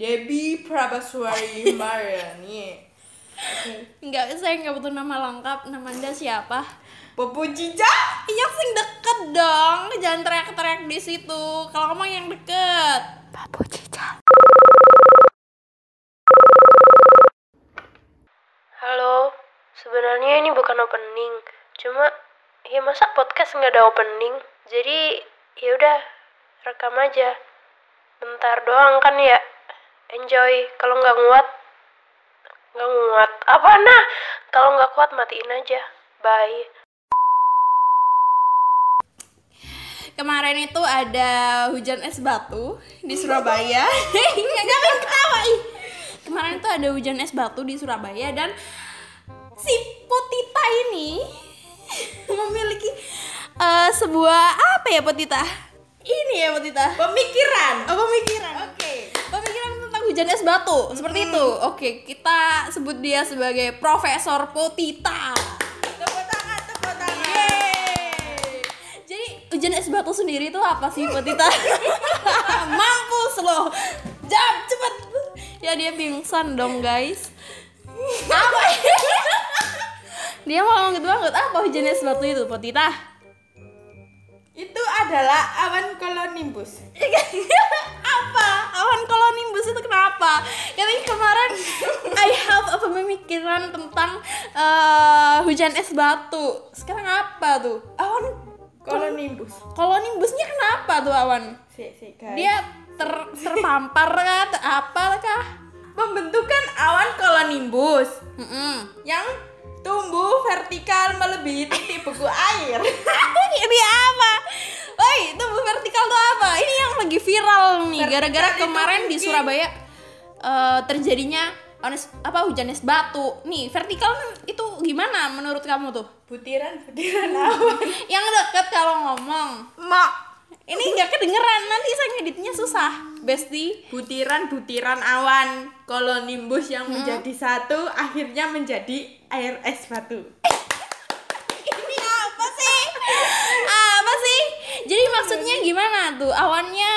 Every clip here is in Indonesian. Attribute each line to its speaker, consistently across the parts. Speaker 1: Debbie Prabaswari Mariani. Oke.
Speaker 2: Enggak, saya nggak butuh nama lengkap. Nama Anda siapa?
Speaker 1: Popo Cica.
Speaker 2: Yang sing deket dong, jangan teriak-teriak di situ. Kalau ngomong yang deket. Babu Cica.
Speaker 3: Halo, sebenarnya ini bukan opening. Cuma ya masa podcast nggak ada opening? Jadi ya udah rekam aja. Bentar doang kan ya. Enjoy. Kalau nggak nguat, nggak nguat. Apa nah? Kalau nggak kuat matiin aja. Bye.
Speaker 2: Kemarin itu ada hujan es batu di Surabaya. Nggak jangan ketawa ih. Kemarin itu ada hujan es batu di Surabaya dan si Potita ini memiliki eh, sebuah apa ya Potita? Ini ya Potita.
Speaker 1: Pemikiran.
Speaker 2: Oh, pemikiran.
Speaker 1: Oke.
Speaker 2: Pemikiran tentang hujan es batu seperti itu. Oke, kita sebut dia sebagai Profesor Potita.
Speaker 1: Tepuk tangan, tepuk tangan.
Speaker 2: Yeay. Jadi hujan es batu sendiri itu apa sih Potita? Mampus loh. Jam cepet. Ya dia pingsan dong guys. Apa? dia mau banget apa hujan es batu itu Potita?
Speaker 1: Itu adalah awan kolonimbus.
Speaker 2: apa? Awan kolonimbus itu kenapa? Katanya kemarin I have a pemikiran tentang eh, hujan es batu. Sekarang apa tuh? Awan
Speaker 1: Kolonimbus.
Speaker 2: kolonimbusnya kenapa tuh awan?
Speaker 1: Si, si, guys.
Speaker 2: Dia ter- terpampar kah? Ter- apa kah?
Speaker 1: membentukan awan kolonimbus
Speaker 2: Mm-mm.
Speaker 1: yang tumbuh vertikal melebihi titik buku air.
Speaker 2: Ini apa? Woi, tumbuh vertikal tuh apa? Ini yang lagi viral nih
Speaker 1: Vertikal
Speaker 2: gara-gara
Speaker 1: itu
Speaker 2: kemarin di
Speaker 1: mungkin-
Speaker 2: Surabaya eh, terjadinya ones- apa hujan es batu. Nih, vertikal itu gimana menurut kamu tuh?
Speaker 1: Butiran-butiran awan.
Speaker 2: Yang deket kalau ngomong.
Speaker 1: Mak,
Speaker 2: Ini nggak kedengeran nanti saya ngeditnya susah, Besti.
Speaker 1: butiran-butiran awan kolonimbus yang menjadi satu akhirnya menjadi air es batu.
Speaker 2: Ini apa sih? apa sih? Jadi maksudnya gimana tuh? Awannya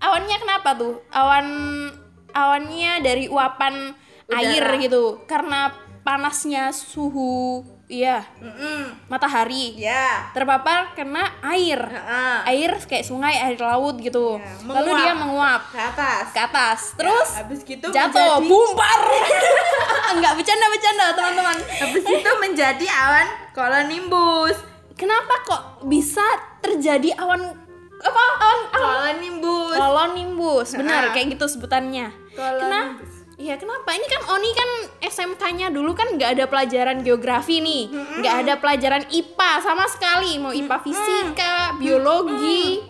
Speaker 2: awannya kenapa tuh? Awan awannya dari uapan
Speaker 1: Udara.
Speaker 2: air gitu. Karena panasnya suhu iya
Speaker 1: Mm-mm.
Speaker 2: matahari
Speaker 1: Ya.
Speaker 2: terpapar kena air.
Speaker 1: Heeh.
Speaker 2: Air kayak sungai, air laut gitu.
Speaker 1: Ya,
Speaker 2: Lalu dia menguap
Speaker 1: Ke atas.
Speaker 2: ke atas. Terus
Speaker 1: Habis gitu
Speaker 2: jatuh,
Speaker 1: menjadi-
Speaker 2: bumpar. Enggak bercanda-bercanda, teman-teman.
Speaker 1: habis itu menjadi awan kolonimbus.
Speaker 2: Kenapa kok bisa terjadi awan apa awan awan
Speaker 1: Kolonimbus.
Speaker 2: kolonimbus benar
Speaker 1: Ah.
Speaker 2: kayak gitu sebutannya kenapa
Speaker 1: Kolonimbus.
Speaker 2: Iya kenapa? Ini kan Oni kan SMK-nya dulu kan nggak ada pelajaran geografi nih, nggak ada pelajaran IPA sama sekali, mau IPA fisika, biologi,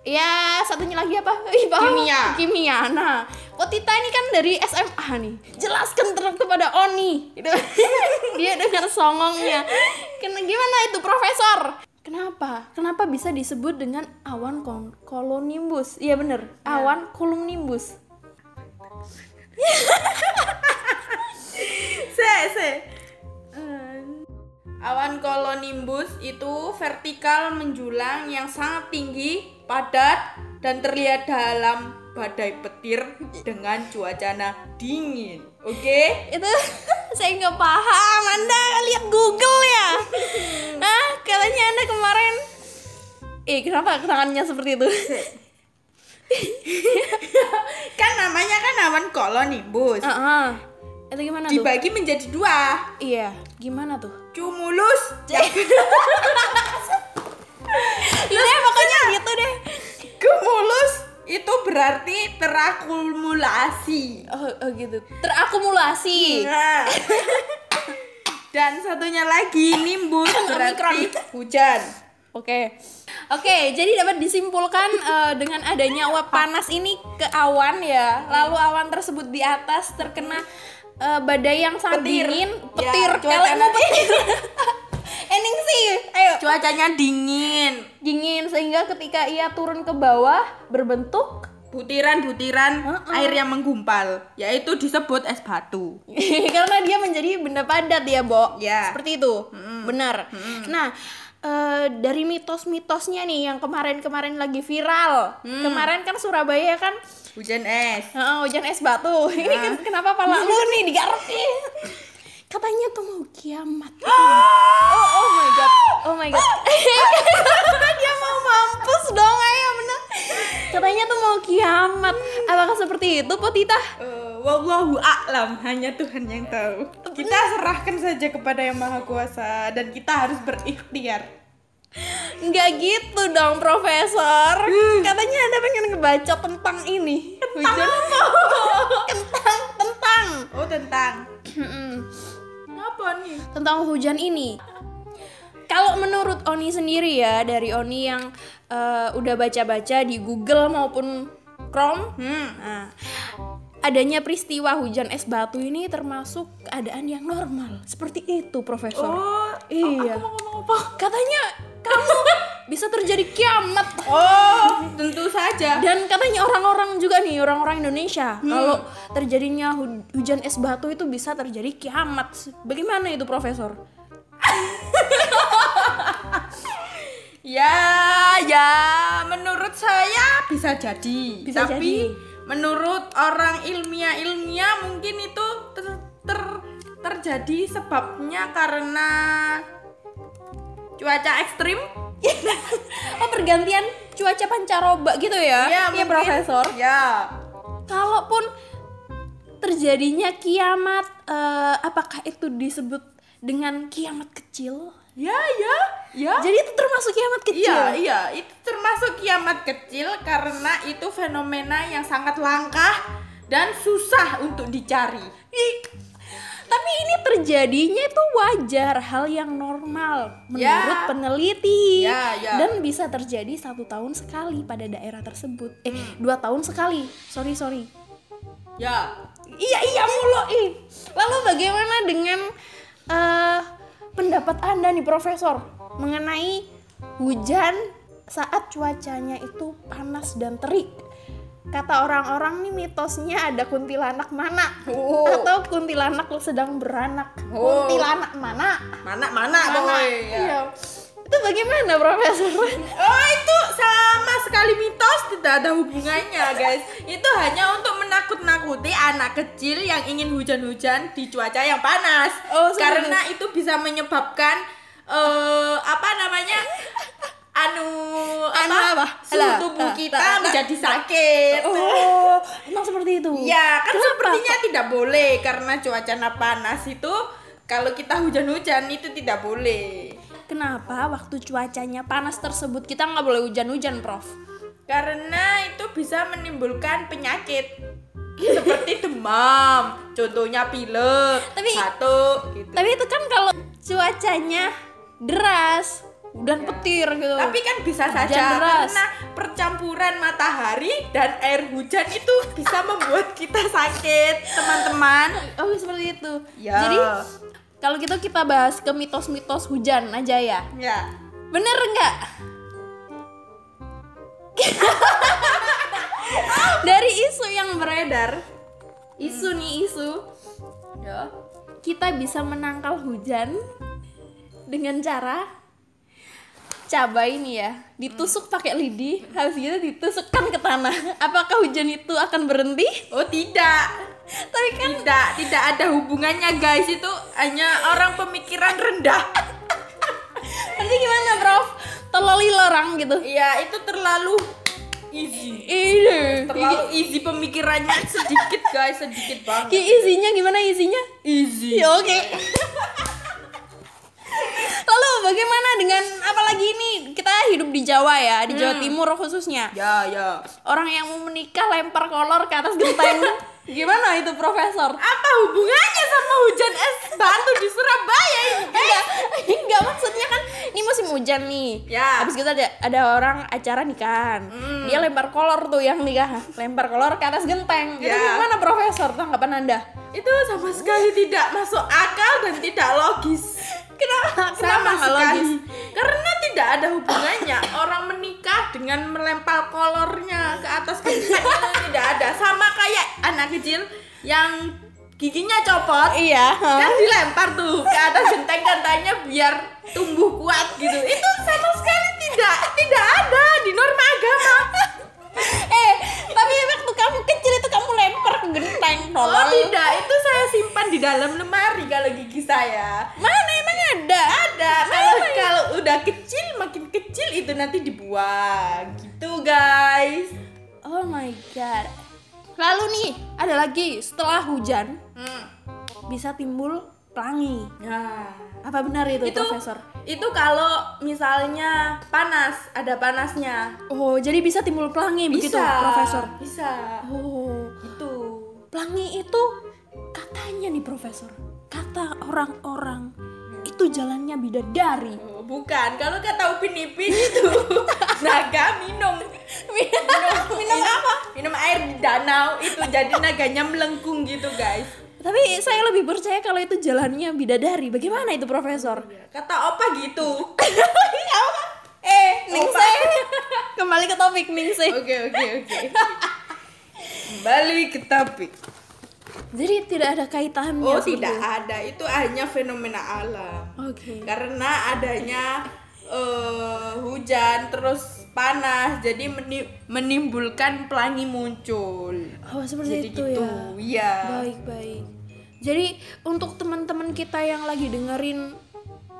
Speaker 2: ya satunya lagi apa? IPA
Speaker 1: Kimia.
Speaker 2: Kimia. Nah, kok Tita ini kan dari SMA nih, jelaskan terus kepada Oni. Gitu. Dia dengan songongnya. Kena gimana itu Profesor? Kenapa? Kenapa bisa disebut dengan awan kon- kolonimbus? Iya bener, awan kolonimbus.
Speaker 1: Se, se. Eh, Awan kolonimbus itu vertikal menjulang yang sangat tinggi, padat, dan terlihat dalam badai petir dengan cuacana dingin. Oke?
Speaker 2: itu saya nggak paham anda lihat Google ya nah katanya anda kemarin eh kenapa tangannya seperti itu
Speaker 1: Kan namanya kan awan kolonimbus.
Speaker 2: Ah, ah. itu gimana tuh
Speaker 1: Dibagi menjadi dua,
Speaker 2: iya gimana tuh
Speaker 1: cumulus Ya, dan
Speaker 2: Yaudah pokoknya gitu deh
Speaker 1: cumulus itu berarti terakumulasi.
Speaker 2: oh, oh gitu terakumulasi
Speaker 1: Nah. Dan satunya lagi nimbus berarti hujan.
Speaker 2: Oke, oke. jadi dapat disimpulkan eh, dengan adanya uap panas ini ke awan ya. Lalu awan tersebut di atas terkena eh, badai yang sangat
Speaker 1: Petir.
Speaker 2: dingin,
Speaker 1: Ya,
Speaker 2: petir.
Speaker 1: cuaca
Speaker 2: Kalau petir. Ening sih, ayo.
Speaker 1: cuacanya dingin
Speaker 2: Dingin sehingga ketika ia turun ke bawah berbentuk
Speaker 1: butiran-butiran
Speaker 2: Heeh.
Speaker 1: air yang menggumpal yaitu disebut es batu
Speaker 2: karena dia menjadi benda padat ya, Bo.
Speaker 1: Ya.
Speaker 2: Seperti itu. Benar. Nah, eh,
Speaker 1: Hmm.
Speaker 2: dari mitos-mitosnya nih yang kemarin-kemarin lagi viral. Kemarin kan Surabaya kan
Speaker 1: Hujan es.
Speaker 2: Heeh, hujan es batu. Ini ken- kenapa pala lu nih digaruk nih? Katanya tuh mau kiamat. Oh, oh my god. Oh my god. Dia mau mampus dong, ayo bener. Katanya tuh mau kiamat. Apakah seperti itu, Potita?
Speaker 1: Eh, wallahu a'lam, hanya Tuhan yang tahu. Kita serahkan saja kepada Yang Maha Kuasa dan kita harus berikhtiar.
Speaker 2: Nggak gitu dong, Profesor. Katanya Anda pengen ngebaca tentang ini. Hmm. Hujan. Tentang, tentang.
Speaker 1: Oh, tentang apa nih?
Speaker 2: tentang hujan ini. Kalau menurut Oni sendiri ya, dari Oni yang eh, udah baca-baca di Google maupun Chrome,
Speaker 1: Hmm.
Speaker 2: nah, adanya peristiwa hujan es batu ini termasuk keadaan yang normal. Seperti itu, Profesor.
Speaker 1: Oh,
Speaker 2: Iya.
Speaker 1: aku mau ngomong apa?
Speaker 2: Katanya kamu bisa terjadi kiamat.
Speaker 1: Oh, tentu saja.
Speaker 2: Dan katanya orang-orang juga nih, orang-orang Indonesia,
Speaker 1: Hmm.
Speaker 2: kalau terjadinya hu- hujan es batu itu bisa terjadi kiamat. Bagaimana itu, Profesor?
Speaker 1: Ya, ya, menurut saya bisa jadi.
Speaker 2: Bisa
Speaker 1: Tapi
Speaker 2: jadi.
Speaker 1: menurut orang ilmiah-ilmiah mungkin itu ter- ter- terjadi sebabnya karena cuaca ekstrim.
Speaker 2: Oh pergantian cuaca pancaroba gitu ya? Iya
Speaker 1: mungkin.
Speaker 2: profesor.
Speaker 1: Ya.
Speaker 2: Kalaupun terjadinya kiamat, eh, apakah itu disebut dengan kiamat kecil?
Speaker 1: Ya, ya, ya.
Speaker 2: Jadi itu termasuk kiamat kecil?
Speaker 1: Iya, iya, itu termasuk kiamat kecil karena itu fenomena yang sangat langka dan susah untuk dicari.
Speaker 2: Ih, Tapi ini terjadinya itu wajar, hal yang normal menurut
Speaker 1: Ya.
Speaker 2: peneliti
Speaker 1: Ya, ya.
Speaker 2: dan bisa terjadi satu tahun sekali pada daerah tersebut. Eh
Speaker 1: Hmm.
Speaker 2: dua tahun sekali, sorry sorry.
Speaker 1: Ya,
Speaker 2: Iya iya mulu ih. Lalu bagaimana dengan eh, pendapat Anda nih Profesor mengenai hujan saat cuacanya itu panas dan terik? Kata orang-orang nih mitosnya ada kuntilanak mana
Speaker 1: Oh.
Speaker 2: atau kuntilanak sedang beranak.
Speaker 1: Oh.
Speaker 2: Kuntilanak mana?
Speaker 1: mana mana
Speaker 2: Mana?
Speaker 1: boy. Ya.
Speaker 2: Iya. Itu bagaimana Profesor?
Speaker 1: Oh itu sama sekali mitos tidak ada hubungannya guys Itu hanya untuk menakut-nakuti anak kecil yang ingin hujan-hujan di cuaca yang panas
Speaker 2: Oh, serius?
Speaker 1: Karena itu bisa menyebabkan eh apa namanya Anu
Speaker 2: Anu apa?
Speaker 1: Suhu
Speaker 2: Alah,
Speaker 1: tubuh
Speaker 2: tak,
Speaker 1: kita
Speaker 2: tak, tak.
Speaker 1: menjadi sakit
Speaker 2: Oh, emang seperti itu.
Speaker 1: Ya kan
Speaker 2: Kenapa?
Speaker 1: sepertinya tidak boleh Karena cuaca panas itu Kalau kita hujan-hujan itu tidak boleh
Speaker 2: Kenapa waktu cuacanya panas tersebut kita nggak boleh hujan-hujan, Prof?
Speaker 1: karena itu bisa menimbulkan penyakit seperti demam contohnya pilek
Speaker 2: Tapi-
Speaker 1: batuk gitu
Speaker 2: Tapi itu kan kalau cuacanya deras, dan petir gitu.
Speaker 1: tapi kan bisa saja
Speaker 2: Hujan deras.
Speaker 1: karena percampuran matahari dan air hujan itu bisa membuat kita sakit teman-teman
Speaker 2: oh seperti itu.
Speaker 1: Ya.
Speaker 2: Jadi kalau gitu kita bahas ke mitos-mitos hujan aja ya.
Speaker 1: ya
Speaker 2: Bener nggak? Dari isu yang beredar, isu nih isu,
Speaker 1: ya
Speaker 2: kita bisa menangkal hujan dengan cara cabai ini ya ditusuk pakai lidi habis gitu ditusukkan ke tanah apakah hujan itu akan berhenti
Speaker 1: oh tidak
Speaker 2: tapi kan
Speaker 1: tidak tidak ada hubungannya guys itu hanya orang pemikiran rendah
Speaker 2: nanti gimana prof teloli lorang gitu
Speaker 1: ya itu terlalu easy
Speaker 2: ini
Speaker 1: terlalu easy pemikirannya sedikit guys sedikit banget
Speaker 2: Ki isinya gimana isinya
Speaker 1: Easy.
Speaker 2: ya oke lalu bagaimana dengan apalagi ini kita hidup di Jawa ya di Jawa Timur khususnya
Speaker 1: Ya, ya.
Speaker 2: orang yang mau menikah lempar kolor ke atas genteng gimana itu profesor
Speaker 1: ya? Apa hubungannya sama hujan es batu di Surabaya ini?
Speaker 2: enggak enggak maksudnya kan ini musim hujan nih
Speaker 1: Ya.
Speaker 2: habis kita ada, ada orang acara nikahan dia lempar kolor tuh yang nikah lempar kolor ke atas genteng itu
Speaker 1: Ya.
Speaker 2: gimana profesor tanggapan anda
Speaker 1: Itu sama sekali tidak masuk akal dan tidak logis.
Speaker 2: kenapa nggak
Speaker 1: Sama sekali.
Speaker 2: logis?
Speaker 1: Karena tidak ada hubungannya orang menikah dengan melempar kolornya ke atas genteng itu tidak ada. Sama kayak anak kecil yang giginya copot
Speaker 2: iya
Speaker 1: kan dilempar tuh ke atas genteng katanya biar tumbuh kuat gitu. Itu sama sekali tidak tidak ada di norma agama.
Speaker 2: eh tapi waktu kamu genteng
Speaker 1: Oh
Speaker 2: tolong
Speaker 1: tidak, itu saya simpan di dalam lemari kalau gigi saya.
Speaker 2: mana emang ada Oh
Speaker 1: Ada, kalau kalau udah kecil makin kecil itu nanti dibuang. Gitu guys.
Speaker 2: oh my god lalu nih ada lagi setelah hujan
Speaker 1: Hmm.
Speaker 2: bisa timbul pelangi
Speaker 1: Nah.
Speaker 2: apa benar itu,
Speaker 1: Itu
Speaker 2: profesor
Speaker 1: Itu kalau misalnya panas, ada panasnya.
Speaker 2: oh jadi bisa timbul pelangi begitu profesor
Speaker 1: Bisa.
Speaker 2: oh
Speaker 1: Gitu.
Speaker 2: Pelangi itu katanya nih profesor, kata orang-orang itu jalannya bidadari.
Speaker 1: Oh, bukan, kalau kata Upin Ipin itu naga minum. Iya.
Speaker 2: Minum- minum apa?
Speaker 1: Minum air di danau itu jadi naganya melengkung gitu, guys.
Speaker 2: Tapi saya lebih percaya kalau itu jalannya bidadari. Bagaimana itu profesor?
Speaker 1: Kata opa gitu.
Speaker 2: Eh,
Speaker 1: Opa.
Speaker 2: Ningse. Kembali ke topik Ningse.
Speaker 1: Oke, oke, oke. Kembali ke topik.
Speaker 2: Jadi tidak ada kaitannya.
Speaker 1: Oh,
Speaker 2: seperti
Speaker 1: tidak
Speaker 2: itu.
Speaker 1: ada. Itu hanya fenomena alam.
Speaker 2: Oke.
Speaker 1: karena adanya eh, hujan terus panas jadi meni- menimbulkan pelangi muncul
Speaker 2: Oh, seperti
Speaker 1: jadi
Speaker 2: itu
Speaker 1: gitu
Speaker 2: ya.
Speaker 1: iya
Speaker 2: Baik, baik. Jadi untuk teman-teman kita yang lagi dengerin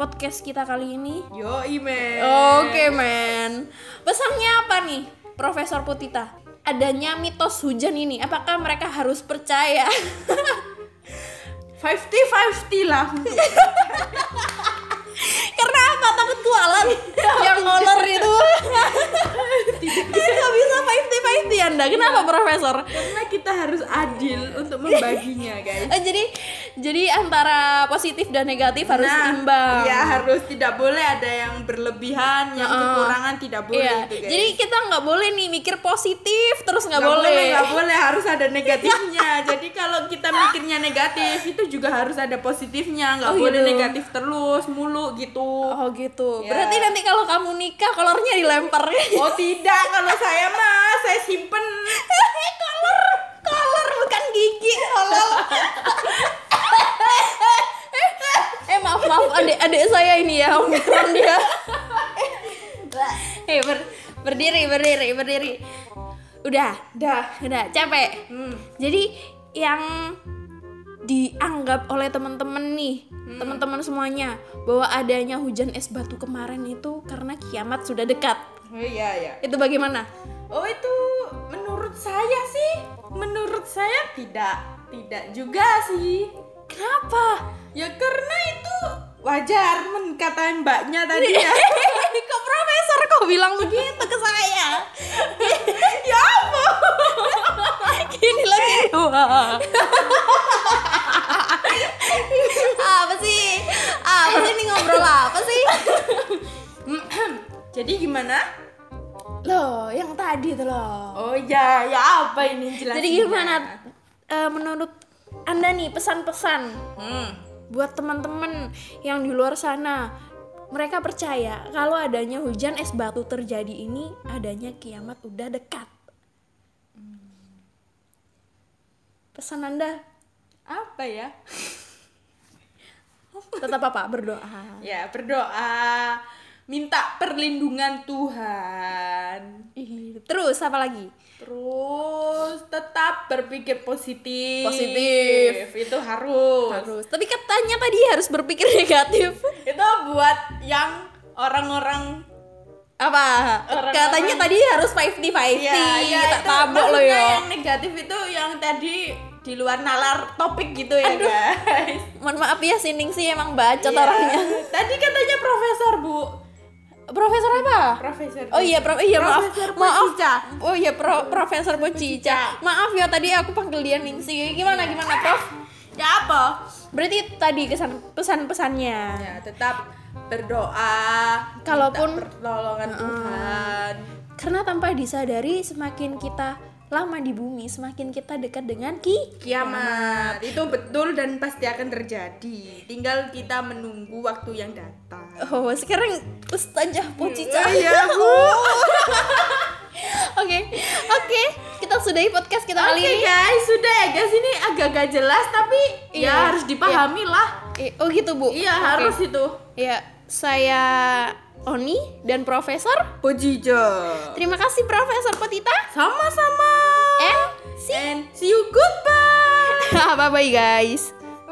Speaker 2: podcast kita kali ini,
Speaker 1: yo ime
Speaker 2: Oke men, pesannya apa nih, Profesor Putita? Adanya mitos hujan ini, apakah mereka harus percaya?
Speaker 1: five t five t lah
Speaker 2: Karena apa takut kualan yang honor itu? Tidak bisa 50 50 Anda. Kenapa Profesor?
Speaker 1: karena kita harus adil untuk membaginya guys
Speaker 2: Eh, jadi jadi antara positif dan negatif harus imbang.
Speaker 1: ya harus tidak boleh ada yang berlebihan yang
Speaker 2: Heeh.
Speaker 1: kekurangan tidak boleh
Speaker 2: Iya.
Speaker 1: itu, guys.
Speaker 2: Jadi kita nggak boleh nih mikir positif terus nggak
Speaker 1: Nggak boleh
Speaker 2: boleh.
Speaker 1: nggak boleh harus ada negatifnya jadi kalau kita mikirnya negatif itu juga harus ada positifnya nggak
Speaker 2: Oh,
Speaker 1: boleh
Speaker 2: gitu.
Speaker 1: negatif terus mulu gitu
Speaker 2: Oh gitu.
Speaker 1: Iya.
Speaker 2: Berarti nanti kalau kamu nikah kolornya dilempar.
Speaker 1: oh tidak kalau saya mah saya simpen
Speaker 2: kolor, kolor bukan gigi, tolol. eh maaf maaf adik adik saya ini ya omikron dia. eh ber- berdiri berdiri berdiri. Udah
Speaker 1: dah
Speaker 2: udah capek.
Speaker 1: hmm.
Speaker 2: Jadi yang dianggap oleh teman-teman nih, teman-teman semuanya bahwa adanya hujan es batu kemarin itu karena kiamat sudah dekat.
Speaker 1: oh iya ya
Speaker 2: Itu bagaimana?
Speaker 1: oh itu menurut saya sih menurut saya tidak tidak juga sih
Speaker 2: Kenapa?
Speaker 1: ya karena itu wajar men kata mbaknya tadi ya
Speaker 2: kok profesor kok bilang begitu ke saya?
Speaker 1: ya ampun
Speaker 2: Gini lagi. Wah. apa sih? Apa sih ini ngobrol apa sih?
Speaker 1: jadi gimana
Speaker 2: Loh, yang tadi tuh loh.
Speaker 1: oh ya ya apa ini jelasin
Speaker 2: Jadi gimana eh, menurut Anda nih pesan-pesan
Speaker 1: hmm.
Speaker 2: buat teman-teman yang di luar sana? Mereka percaya kalau adanya hujan es batu terjadi ini adanya kiamat udah dekat. Hmm. Pesan Anda
Speaker 1: apa ya
Speaker 2: tetap apa berdoa
Speaker 1: ya berdoa minta perlindungan Tuhan
Speaker 2: Ih, terus apa lagi
Speaker 1: terus tetap berpikir positif
Speaker 2: Positif.
Speaker 1: itu harus,
Speaker 2: harus tapi katanya tadi harus berpikir negatif
Speaker 1: itu buat yang orang-orang
Speaker 2: apa
Speaker 1: Orang-orang-
Speaker 2: katanya tadi harus 50 50 tak
Speaker 1: Iya, itu
Speaker 2: tabok lo
Speaker 1: maksudnya
Speaker 2: ya
Speaker 1: yang negatif itu yang tadi di luar nalar topik gitu ya
Speaker 2: Aduh.
Speaker 1: guys
Speaker 2: mohon maaf ya sining sih emang bacot
Speaker 1: Iya.
Speaker 2: orangnya
Speaker 1: tadi katanya profesor bu
Speaker 2: profesor apa
Speaker 1: profesor
Speaker 2: Oh iya, Prof. Iya, maaf.
Speaker 1: Profesor
Speaker 2: Maaf.
Speaker 1: Pocica.
Speaker 2: Oh iya, Pro- Profesor Pocica. Maaf ya tadi aku panggil dia Ningsi. Gimana
Speaker 1: Iya.
Speaker 2: gimana, Prof?
Speaker 1: ya apa
Speaker 2: Berarti tadi kesan pesan-pesannya.
Speaker 1: ya tetap berdoa
Speaker 2: Kalaupun-
Speaker 1: minta pertolongan Tuhan
Speaker 2: Karena tanpa disadari semakin kita lama di bumi, semakin kita dekat dengan ki
Speaker 1: kiamat itu betul dan pasti akan terjadi tinggal kita menunggu waktu yang datang
Speaker 2: Oh, sekarang Ustazah Pocica.
Speaker 1: Oh iya, Bu.
Speaker 2: Oke. Oke, kita sudahi podcast kita kali
Speaker 1: Oke
Speaker 2: ini.
Speaker 1: guys, sudah ya guys ini agak-agak jelas tapi
Speaker 2: Iya,
Speaker 1: ya harus dipahami lah.
Speaker 2: Eh, Oh gitu, Bu.
Speaker 1: Iya
Speaker 2: Oke.
Speaker 1: harus itu.
Speaker 2: Iya, saya Oni dan Profesor.
Speaker 1: Pojijo.
Speaker 2: Terima kasih Profesor Petita.
Speaker 1: Sama-sama.
Speaker 2: And
Speaker 1: And see you goodbye.
Speaker 2: bye bye guys